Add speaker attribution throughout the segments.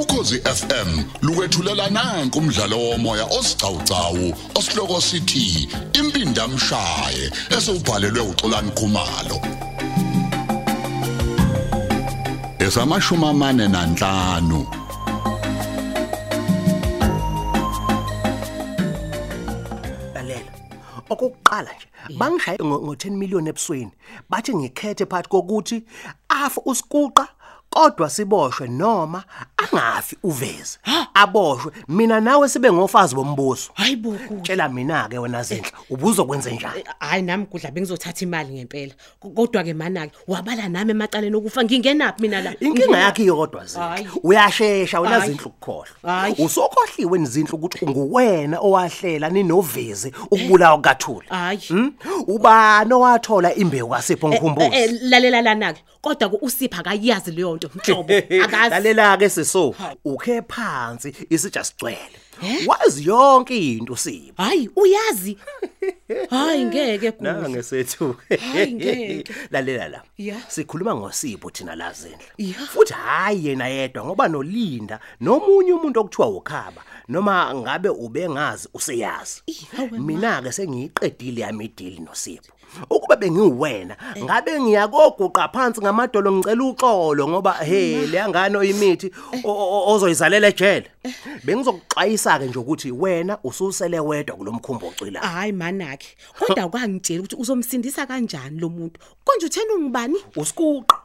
Speaker 1: ukhozi FM lukwethulela nanku umdlalo womoya osiqhawqhawo osihloko sithi impinda mshaye esubhalelwe uXolani Khumalo esamashuma amane nanhlanu
Speaker 2: lalela okokuqala nje bangishaye ngo-10 million ebusweni bathi ngikhethe phakathi kokuthi afe usikuqa kodwa siboshwe noma angafi uveze aboshwe mina nawe sibe ngofazi bombuso
Speaker 3: Hayi bo, Gugu.
Speaker 2: tshela mina ke wena zenhle ubuzokwenza njani
Speaker 3: hayi nami kudla bengizothatha imali ngempela Ko- kodwa-ke mana-ke wabala nami emacaleni okufa ngingenaphi mina la
Speaker 2: inkinga yakhe iyodwa zinhle
Speaker 3: Hhayi.
Speaker 2: uyashesha wena
Speaker 3: Hhayi.
Speaker 2: zinhle ukukhohlwa
Speaker 3: Hhayi.
Speaker 2: usokhohliwe nizinhle ukuthi unguwena owahlela ninovezi ukubulawa kukathuli
Speaker 3: hayi
Speaker 2: Hmm? ubani owathola imbewu kasipho
Speaker 3: Eh, eh,
Speaker 2: ngikhumbuze
Speaker 3: lalela lana-ke kodwa-ke usipha akayazi leyo nto mhlobo akazi
Speaker 2: lalela ke siso ukhe phansi isija sicwele wazi yonke into sipho
Speaker 3: hayi uyazi hayi ngeke Gugu.
Speaker 2: nangesethu
Speaker 3: Hhayi, ngeke.
Speaker 2: lalela la
Speaker 3: Ya.
Speaker 2: sikhuluma ngosipho thina la zindla
Speaker 3: Ya.
Speaker 2: futhi hayi yena yedwa ngoba nolinda nomunye umuntu okuthiwa ukhaba noma ngabe ubengazi useyazi
Speaker 3: hawe ma.
Speaker 2: mina ke sengiyiqedile yami idili nosipho ukuba bengiwena
Speaker 3: Eh.
Speaker 2: ngabe ngiyakoguqa phansi ngamadolo ngicela uxolo ngoba he leyangane oyimithi
Speaker 3: Eh.
Speaker 2: o- o- ozoyizalela ejele bengizokuxwayisa ke nje ukuthi wena ususele wedwa kulomkhumbuco ila
Speaker 3: hayi mana-ke kodwa kwangitshela ukuthi uzomsindisa kanjani lo muntu konje uthena ungubani
Speaker 2: usikuqa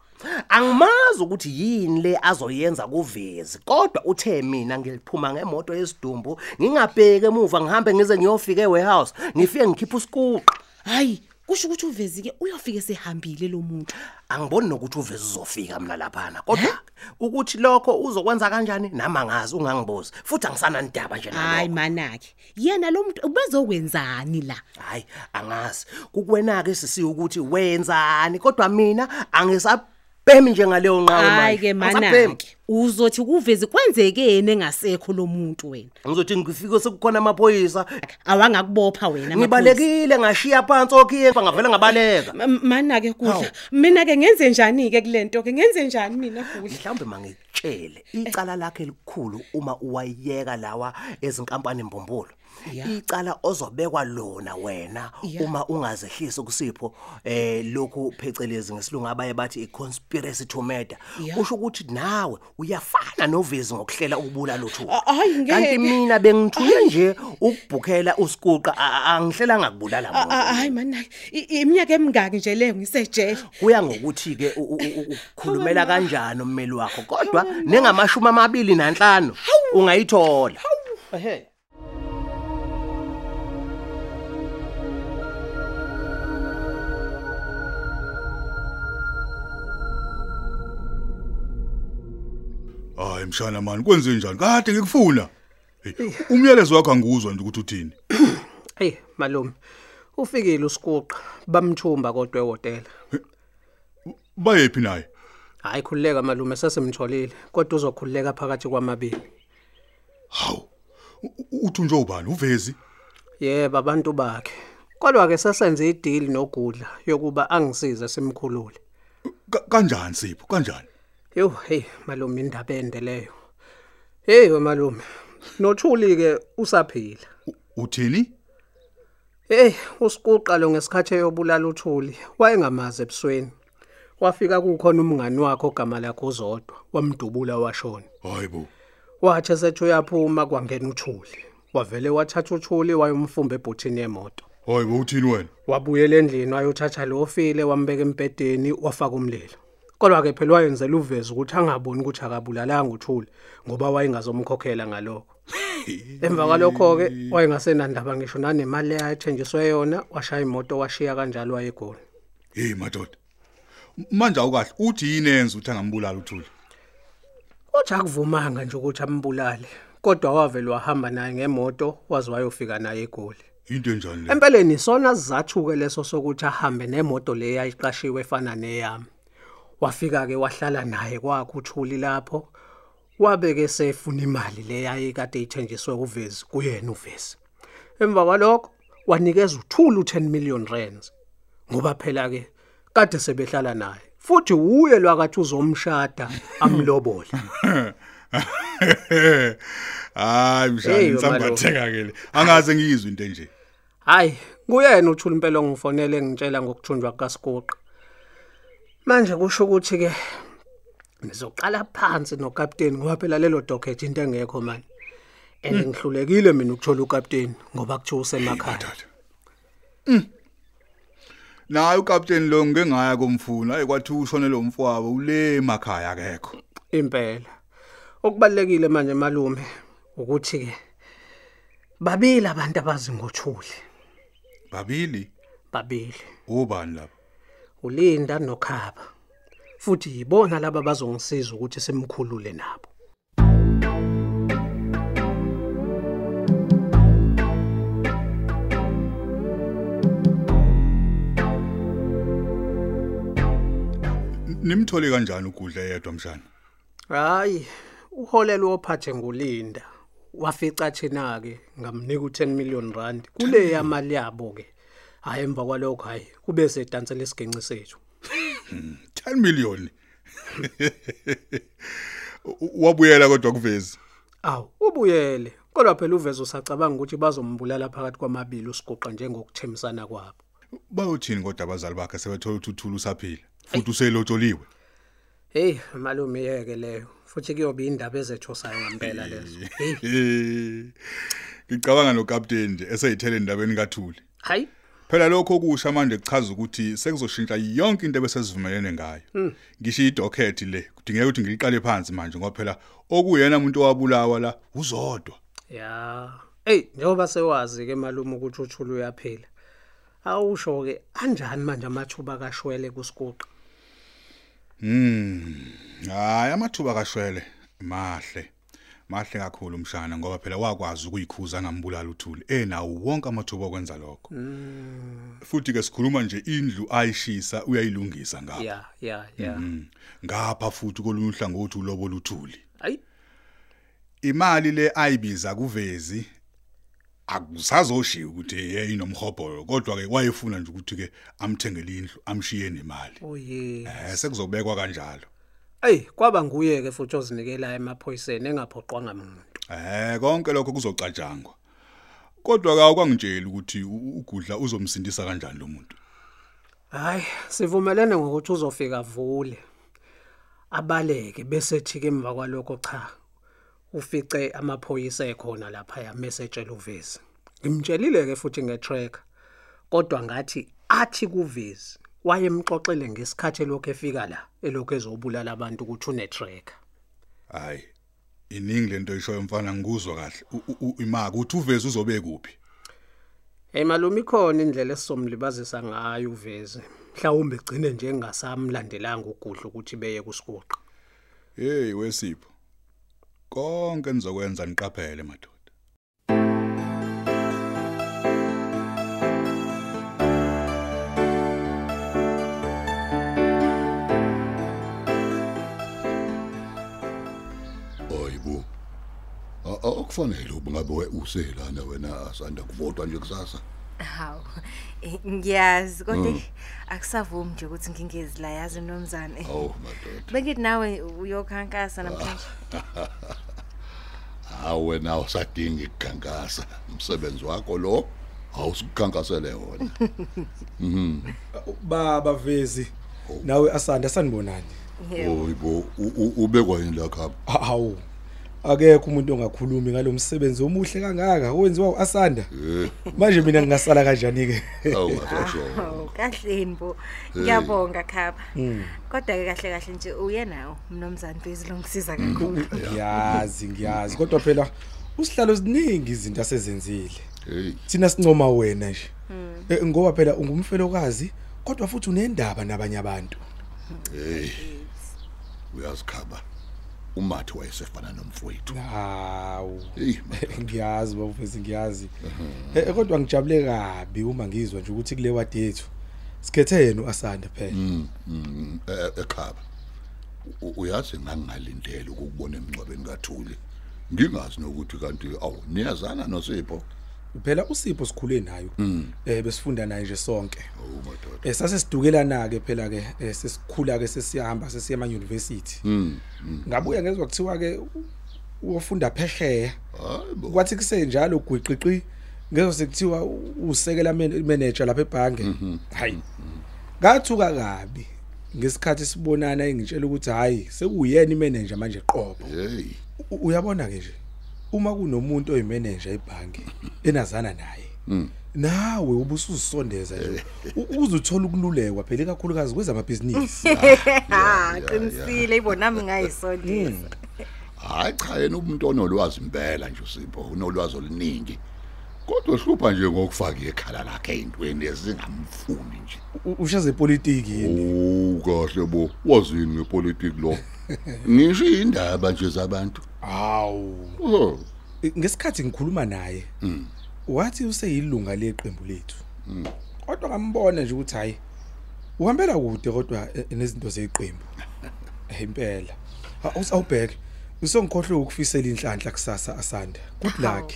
Speaker 2: angimazi ukuthi yini le azoyenza kuvezi kodwa uthe mina ngiliphuma ngemoto yesidumbu ngingabheki emuva ngihambe ngize ngiyofika ewarehouse ngifike ngikhipha usikuqa
Speaker 3: hayi kusho ukuthi uvezi-ke uyofike sehambile lo muntu
Speaker 2: angiboni nokuthi uvezi uzofika mina laphana kodwa ukuthi lokho uzokwenza kanjani nami angazi ungangibuzi futhi angisana nidaba nje
Speaker 3: hayi
Speaker 2: nalokho
Speaker 3: mana-ke yena lo muntu ubezokwenzani la
Speaker 2: hayi angazi kukwena-ke sisiwe ukuthi wenzani kodwa mina angisabhemi njengaleyo nqawe
Speaker 3: hayi
Speaker 2: manje.
Speaker 3: ke
Speaker 2: Angisabhemi.
Speaker 3: mana-ke uzothi kuvezi kwenzekeni engasekho lo muntu wena
Speaker 2: ngizothi ngifike sekukhona amaphoyisa
Speaker 3: awangakubopha wena amaphoyisa.
Speaker 2: ngibalekile ngashiya phansi okhiye ngavele ngabaleka
Speaker 3: Ma- mana-ke
Speaker 2: Hawu.
Speaker 3: kudla mina-ke ngenze njani-ke kule nto ke ngenze njani mina kudla
Speaker 2: mhlawumbe mangitshele icala lakhe elikhulu uma uwayeka lawa ezinkampani mbumbulo
Speaker 3: Ya.
Speaker 2: icala ozobekwa lona wena
Speaker 3: Ya.
Speaker 2: uma ungazehlisi kusipho eh lokhu phecelezi ngesilungu abaye bathi i-conspiracy to murder
Speaker 3: Ya.
Speaker 2: kusho ukuthi nawe uyafana novezi ngokuhlela ukubula lutho
Speaker 3: A- ayi, ngeke.
Speaker 2: kanti mina bengithuke nje ukubhukhela usikuqa a- a- angihlelanga kubulala
Speaker 3: A- a-
Speaker 2: muntu
Speaker 3: hayi mana-ke i- iminyaka emingaki nje leyo ngisejele
Speaker 2: kuya ngokuthi-ke u- u- u- ukukhulumela kanjani ummeli wakho kodwa nengamashumi amabili nanhlanu ungayithola
Speaker 4: hayi mshana mani kwenze njani kade ngikufuna Hey, umyalezo wakho anguzwa nje ukuthi uthini
Speaker 5: Hey malume. Ufikile usikuqa bamthumba kodwa ehotela.
Speaker 4: bayephi naye
Speaker 5: Hayi khulileka malume sesimtholile kodwa uzokhulileka phakathi kwamabili.
Speaker 4: hawu u- u- uthunjwe ubani uvezi
Speaker 5: Yebo abantu bakhe. Kodwa ke sasenze ideal nogudla yokuba angisize simkhulule.
Speaker 4: Ka- kanjani sipho kanjani
Speaker 5: Yo hey malume indaba ende leyo. Hey we malume. Nothuli ke usaphila.
Speaker 4: U- uthini
Speaker 5: Hey, usikuqa lo ngesikhathi eyobulala uthuli, wayengamazi ebusweni. Wafika kukhona umngani wakhe ogama lakhe uzodwa, wamdubula washona.
Speaker 4: hayibo
Speaker 5: Wathi esethi uyaphuma kwangena uthuli. Wavele wathatha uthuli wayomfumba ebhuthini yemoto.
Speaker 4: hayibo uthini wena
Speaker 5: Wabuyela endlini wayothatha lo ofile wambeka empedeni wafaka umlilo. Kodwa ke phela wayenzela uveze ukuthi angaboni ukuthi akabulalanga uthuli ngoba wayengazomkhokhela ngalokho. Emva kwalokho ke wayengasenandaba ngisho nanemali ayathenjiswe yona washaya imoto washiya kanjalo wayegona.
Speaker 4: hey madoda M- manje awukahle uthi yini enza ukuthi angambulala uthuli
Speaker 5: Kodwa akuvumanga nje ukuthi ambulale. Kodwa wavele wahamba naye ngemoto waze wayofika naye egoli.
Speaker 4: into enjani le
Speaker 5: Empeleni sona sizathuke leso sokuthi ahambe nemoto leya iqashiwe efana neyami. Wafika ke wahlala naye kwakhe uthuli lapho. Wabeke sefuna imali leya ekade ithenjiswe uvezi kuyena uvezi. Emva kwalokho wanikeza uthuli u10 million rands. Ngoba phela ke kade sebehlala naye. Futhi uye lwakathi uzomshada amlobole.
Speaker 1: hayi mshana
Speaker 5: Eyo,
Speaker 1: ngisambatheka ke le angaze ngiyizwe into enje
Speaker 5: Hayi, kuyena uthula impela ongifonele ngitshela ngokuthunjwa kaSiguqa. Manje kusho ukuthi ke nizoqala phansi noCaptain ngoba phela lelo docket into engekho manje. And ngihlulekile mina ukuthola uCaptain ngoba kuthiwa usemakhaya.
Speaker 1: Dada. Mm. Naye ukapteni lo ngeke ngaya komfuna ayi kwathi ushonele umfowabo ule emakhaya akekho.
Speaker 5: Impela. Okubalekile manje malume ukuthi ke babili abantu abazingothuli,
Speaker 1: Babili
Speaker 5: babili.
Speaker 1: obani lapha?
Speaker 5: Ulinda noKhaba. Futhi yibona laba bazongisiza ukuthi simkhulule nabo.
Speaker 1: Nimthole kanjani ugudla yedwa mshana?
Speaker 5: Hayi, uholelwe ophathe ngulinda. Wafica thina ke ngamnika u10 million rand. Kule yamali yabo ke. Hayi emva kwalokho hayi kube sedansela isiginci sethu.
Speaker 1: 10 million. U- Wabuyela kodwa kuvezi.
Speaker 5: Aw, ubuyele. Kodwa phela uveze usacabanga ukuthi bazombulala phakathi kwamabili usiguqa njengokuthemisana kwabo.
Speaker 1: Bayothini kodwa abazali bakhe sebethola ukuthi uthula usaphila futhi uselotsholiwe.
Speaker 5: Hey, malume yeke leyo. Futhi kuyobe indaba ezethosayo ngempela lezo. Hey,
Speaker 1: Eh, Ngicabanga nokapteni nje eseyithele endabeni kaThuli.
Speaker 5: hayi.
Speaker 1: Phela lokho okusha manje kuchaza ukuthi sekuzoshintsha yonke into ebesesivumelene ngayo. Ngisho idocket le kudingeka ukuthi ngiliqale phansi manje ngoba phela okuyena umuntu owabulawa la uzodwa.
Speaker 5: Ya. Hey, njengoba sewazi ke malume ukuthi uthula uyaphila. Awusho ke anjani manje amathuba kaShwele kuSiguqa?
Speaker 1: Hayi amathuba kaShwele mahle. Mahle kakhulu umshana ngoba phela wakwazi ukuyikhuza ngambulala uthuli enawo wonke amathuba okwenza lokho. Futhi ke sikhuluma nje indlu ayishisa uyayilungisa ngapha.
Speaker 5: Ya, ya, ya.
Speaker 1: Ngapha futhi kolunye uhlangothi ulobo luthuli.
Speaker 5: Hayi.
Speaker 1: imali le ayibiza kuvezi akusazoshiya ukuthi hey inomhobholo kodwa ke wayefuna nje ukuthi ke amthengele indlu amshiye nemali
Speaker 5: Oye.
Speaker 1: eh sekuzobekwa kanjalo
Speaker 5: Ey, kwaba nguye ke futhi ozinikela emaphoyiseni engaphoqwa ngamuntu.
Speaker 1: eh konke lokho kuzocatshangwa kodwa ka kwangitshela ukuthi u- ugudla uzomsindisa kanjani lo muntu
Speaker 5: Hayi, sivumelene ngokuthi uzofika vule. Abaleke bese thi ke emva kwalokho cha. Ufice amaphoyisa ekhona lapha ya message uvezi. Ngimtshelile ke futhi ngetracker. Kodwa ngathi athi kuvezi wayemxoxele ngesikhathi lokho efika la elokho ezobulala abantu ukuthi une tracker.
Speaker 1: hayi iningi lento ishoyo mfana ngikuzwa kahle U- u- u- imaka uthi uvezi uzobe kuphi
Speaker 5: Hey malume ikhona indlela esizomlibazisa ngayo uvezi. Mhlawumbe gcine nje engasamlandelanga ugudla ukuthi beye kusiguqa.
Speaker 1: hey wesipho konke nizokwenza niqaphele madoda
Speaker 6: Hayibo. A- a- Akufanele ubungabe we uselana wena asanda kuvotwa nje kusasa.
Speaker 7: Hawu. eh, Ngiyazi kodwa eh, akusavumi nje ukuthi ngingezi la yazi nomzane.
Speaker 6: Awu madoda.
Speaker 7: Bengithi nawe uyokhankasa namhlanje.
Speaker 6: Hawu wena usadinga ikukhankasa. Umsebenzi wakho lo awusikukhankasele wona.
Speaker 8: baba vezi nawe asanda sanibonani
Speaker 7: Yebo.
Speaker 6: Hayibo Oh, u- u- ubekwa yini la khapha?
Speaker 8: hawu akekho umuntu ongakhulumi ngalomsebenzi omuhle kangaka owenziwa uAsanda manje mina ngingasala kanjani ke
Speaker 6: Awu
Speaker 1: Ah.
Speaker 6: ngasho.
Speaker 7: Hawu, Kahleni bo. Ngiyabonga khapha. Kodwa ke kahle kahle nje uye nawo mnomzane Bhezi longisiza kakhulu.
Speaker 8: ngiyazi ngiyazi kodwa phela usihlalo ziningi izinto asezenzile
Speaker 6: Hey.
Speaker 8: thina sincoma wena nje Eh, ngoba phela ungumfelokazi kodwa futhi unendaba nabanye abantu
Speaker 6: Hey. Uyazikhaba. Umathi wayesefana nomfowethu.
Speaker 8: hawu
Speaker 6: Hey. madoda.
Speaker 8: ngiyazi bavezi ngiyazi Eh, eh, kodwa ngijabule kabi uma ngizwa nje ukuthi kule wadi yethu sikhethe yena uAsanda phela
Speaker 6: Mm, eh, ekhaba U- uyazi ngangalindele ukubona emncwebeni kaThuli ngingazi nokuthi kanti awu niyazana noSipho
Speaker 8: phela usipho sikhule nayo eh besifunda naye nje sonke
Speaker 6: awu madoda
Speaker 8: eh sasisidukela ke phela ke eh,
Speaker 6: Mm.
Speaker 8: sesikhula ke sesiyahamba sesiya ema university ngabuya ngezwe kuthiwa ke wofunda phesheya
Speaker 1: Hayi bo.
Speaker 8: kwathi kusenjalo gwiqiqi ngezo sekuthiwa usekela man- manager lapha ebhange hayi ngathuka kabi ngesikhathi sibonana engitshela ukuthi hayi sekuyena imanager manje qobo
Speaker 1: hey
Speaker 8: U- uyabona ke nje uma kunomuntu oyimanager ebhange enazana naye nawe ubusuzisondeza nje u- uzuthola ukululekwa phela ikakhulukazi kwezamabhizinisi
Speaker 7: ha qinisile ibonami ngayisondisa
Speaker 1: hayi cha yena umuntu onolwazi impela nje usipho unolwazi oluningi kodwa uhlupha nje ngokufaka ikhala lakhe ezintweni ezingamfuni nje
Speaker 8: U- ushaze politiki yini
Speaker 1: Oh kahle bo wazini ngepolitiki lo ngisho indaba nje zabantu
Speaker 8: hawu
Speaker 1: oh
Speaker 8: I- ngesikhathi ngikhuluma naye wathi useyilunga leqembu lethu kodwa ngambona nje ukuthi hayi uhambela kude kodwa eh, nezinto zeqembu Eh, impela Ha, us- awubheke usengikhohlwe ukufisela inhlanhla kusasa asanda good luck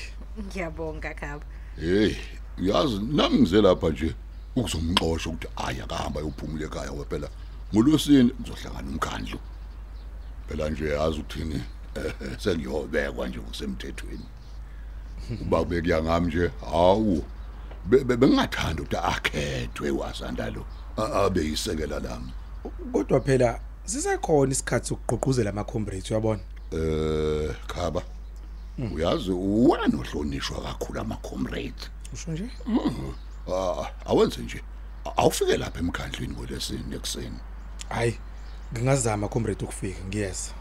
Speaker 7: ngiyabonga khaba
Speaker 1: hey yazi nami ngize lapha nje ukuzomxoshwa ukuthi aya kahamba yophumule ekhaya waphela ngolwesini ngizohlangana umkhandlu phela nje yazi ukuthini eh, sengiyobekwa nje ngokusemthethweni uba bekuya ngami nje hawu Be- be- bengingathanda ukuthi akhethwe wasanda lo A- abe yisekela lami
Speaker 8: kodwa phela sisekhona isikhathi sokugqugquzela ama-comrades uyabona
Speaker 1: eh khaba uyazi uwona nohlonishwa kakhulu ama-comrades
Speaker 8: usho nje
Speaker 1: Ah, awenze nje A- awufike lapha emkhandlwini ngolesine ekuseni
Speaker 8: hhayi ngingazama comrade ukufika ngiyeza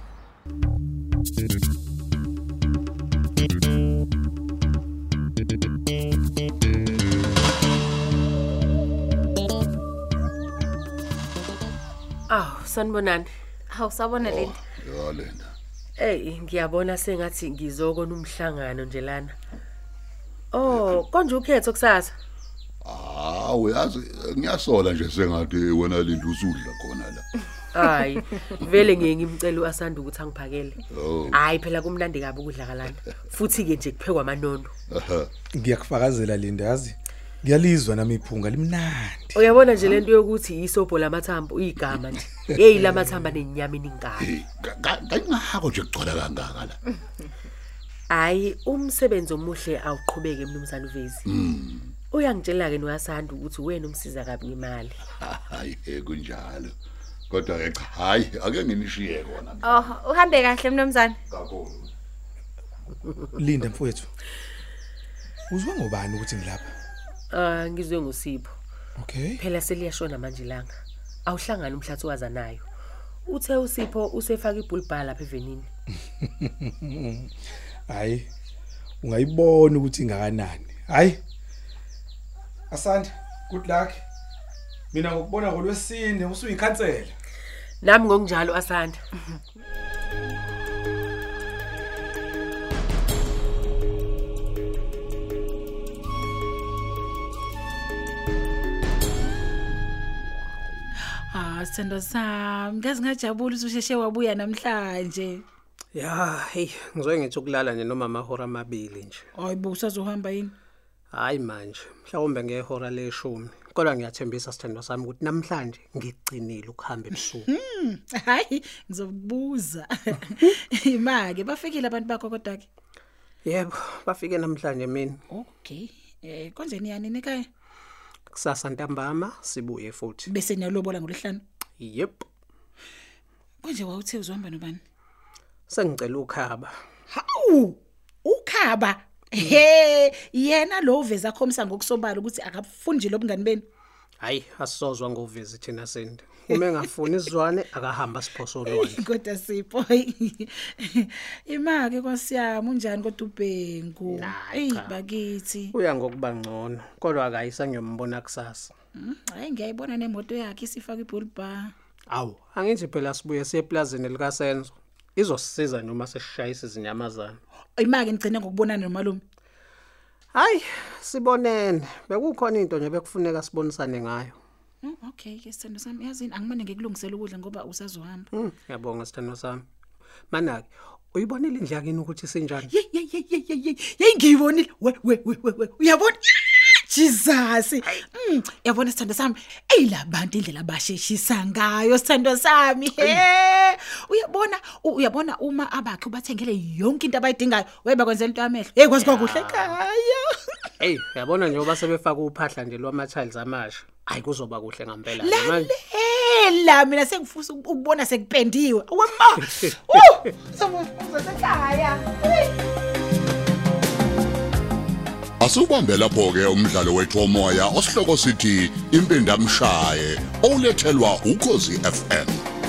Speaker 9: Aw, sanibonani.
Speaker 7: awusabona leni
Speaker 1: ya lena
Speaker 9: Ey, ngiyabona sengathi ngizokona umhlangano nje lana. Oh, konje ukhetho kusasa.
Speaker 1: ah uyazi ngiyasola nje sengathi wena linto usudla khona la
Speaker 9: Hayi, vele ngiye ngimcela uAsanda ukuthi angiphakele.
Speaker 1: Oh.
Speaker 9: Hayi phela kumnandi kabi ukudla kalana. Futhi ke nje kuphekwa amanono.
Speaker 8: ngiyakufakazela linda yazi ngiyalizwa nami iphunga limnandi
Speaker 9: Uyabona nje lento yokuthi isobho lamathambo igama nje. Hey lamathamba nenyamini ingane.
Speaker 1: Eh, ka- ka- kayingako nje kugcwala kangaka la
Speaker 9: Hayi, umsebenzi omuhle awuqhubeke mnumzane uvezi. Uyangitshela ke noAsanda ukuthi wena umsiza kabi ngemali.
Speaker 1: hayi eh, kunjalo kodwa ke cha hayi ake nginishiye kona
Speaker 7: oh uhambe kahle mnumzane
Speaker 1: kakhulu
Speaker 8: linda mfowethu uzwa ngobani ukuthi ngilapha
Speaker 9: Ah, ngizwe ngusipho.
Speaker 8: okay
Speaker 9: phela seliyashona manje ilanga awuhlangani umhlathi wazanayo uthe usipho usefaka ibhulibhala lapha evenini
Speaker 8: hayi ungayibona ukuthi ingakanani hayi asanda good luck mina ngokubona ngolwesine usuyikhansela
Speaker 9: nami ngokunjalo asanda
Speaker 10: Ah sithando sami, ngaze ngajabula ususheshe wabuya namhlanje.
Speaker 5: ya hey ngizoye ngithi ukulala nje noma amahora amabili nje
Speaker 10: Hayibo usazohamba yini?
Speaker 5: hayi manje mhlawumbe ngehora leshumi kodwa ngiyathembisa sithandwa sami ukuthi namhlanje ngigcinile ukuhamba ebusuku
Speaker 10: Hayi, ngizobuza. Imake bafikile abantu bakho kodwa ke.
Speaker 5: yebo bafike namhlanje mina
Speaker 10: Okay. Eh konje niyani nikhaya?
Speaker 5: kusasa ntambama sibuye futhi
Speaker 10: Bese niyalobola ngolesihlanu.
Speaker 5: yep
Speaker 10: Konje wawuthe uzohamba nobani?
Speaker 5: sengicela ukhaba
Speaker 10: Hawu! Ukhaba. He, yena lo uveza khomisa ngokusobala ukuthi akafundi lo bungani benu.
Speaker 5: hayi asizozwa ngovezi thina sindi uma engafuni isizwane akahamba siphoso lwandle
Speaker 10: Kodwa sipho. Imake kwasiyami unjani kodwa ubhengu? Ey bakithi.
Speaker 5: uya ngokuba ngcono kodwa akayi sengiyombona kusasa
Speaker 10: Mm, Hayi ngiyayibona nemoto yakhe isifaka ibhulibha.
Speaker 5: awu angithi phela sibuye siye eplazini likasenzo izosisiza noma sesishayisa izinyamazana
Speaker 10: Imake ngicene ngokubonana nomalume.
Speaker 5: hayi sibonene bekukhona into nje bekufuneka sibonisane ngayo
Speaker 10: Oh, okay ke sithando sami yazini angimane ngikulungisele ukudla ngoba usazohamba.
Speaker 5: Mm, ngiyabonga sithando sami manake uyibonile indlu yakini ukuthi sinjani
Speaker 10: Yey yey yey yey yey. Yey ngiyibonile. We we we we. Uyabona?
Speaker 3: Jesus. Mm,
Speaker 10: Hmm,
Speaker 3: yabona sithando sami, eyilabantu indlela abasheshisa ngayo sithando sami. He. Uyabona, u- uyabona uma abakhe ubathengele yonke into abayidingayo, webekwenzela into yamehlo. Hey kwazi kwakuhle ekhaya.
Speaker 5: Hey, uyabona njengoba sebefaka uphahla nje lwama-tiles amasha. Hayi kuzoba kuhle ngempela nje manje.
Speaker 3: lalela mina sengifusa uk- ukubona sekupendiwe wema uh sasekhaya
Speaker 1: Asubambe lapho ke umdlalo wethu womoya osihloko sithi impindamshaye olethelwa ukozi FM.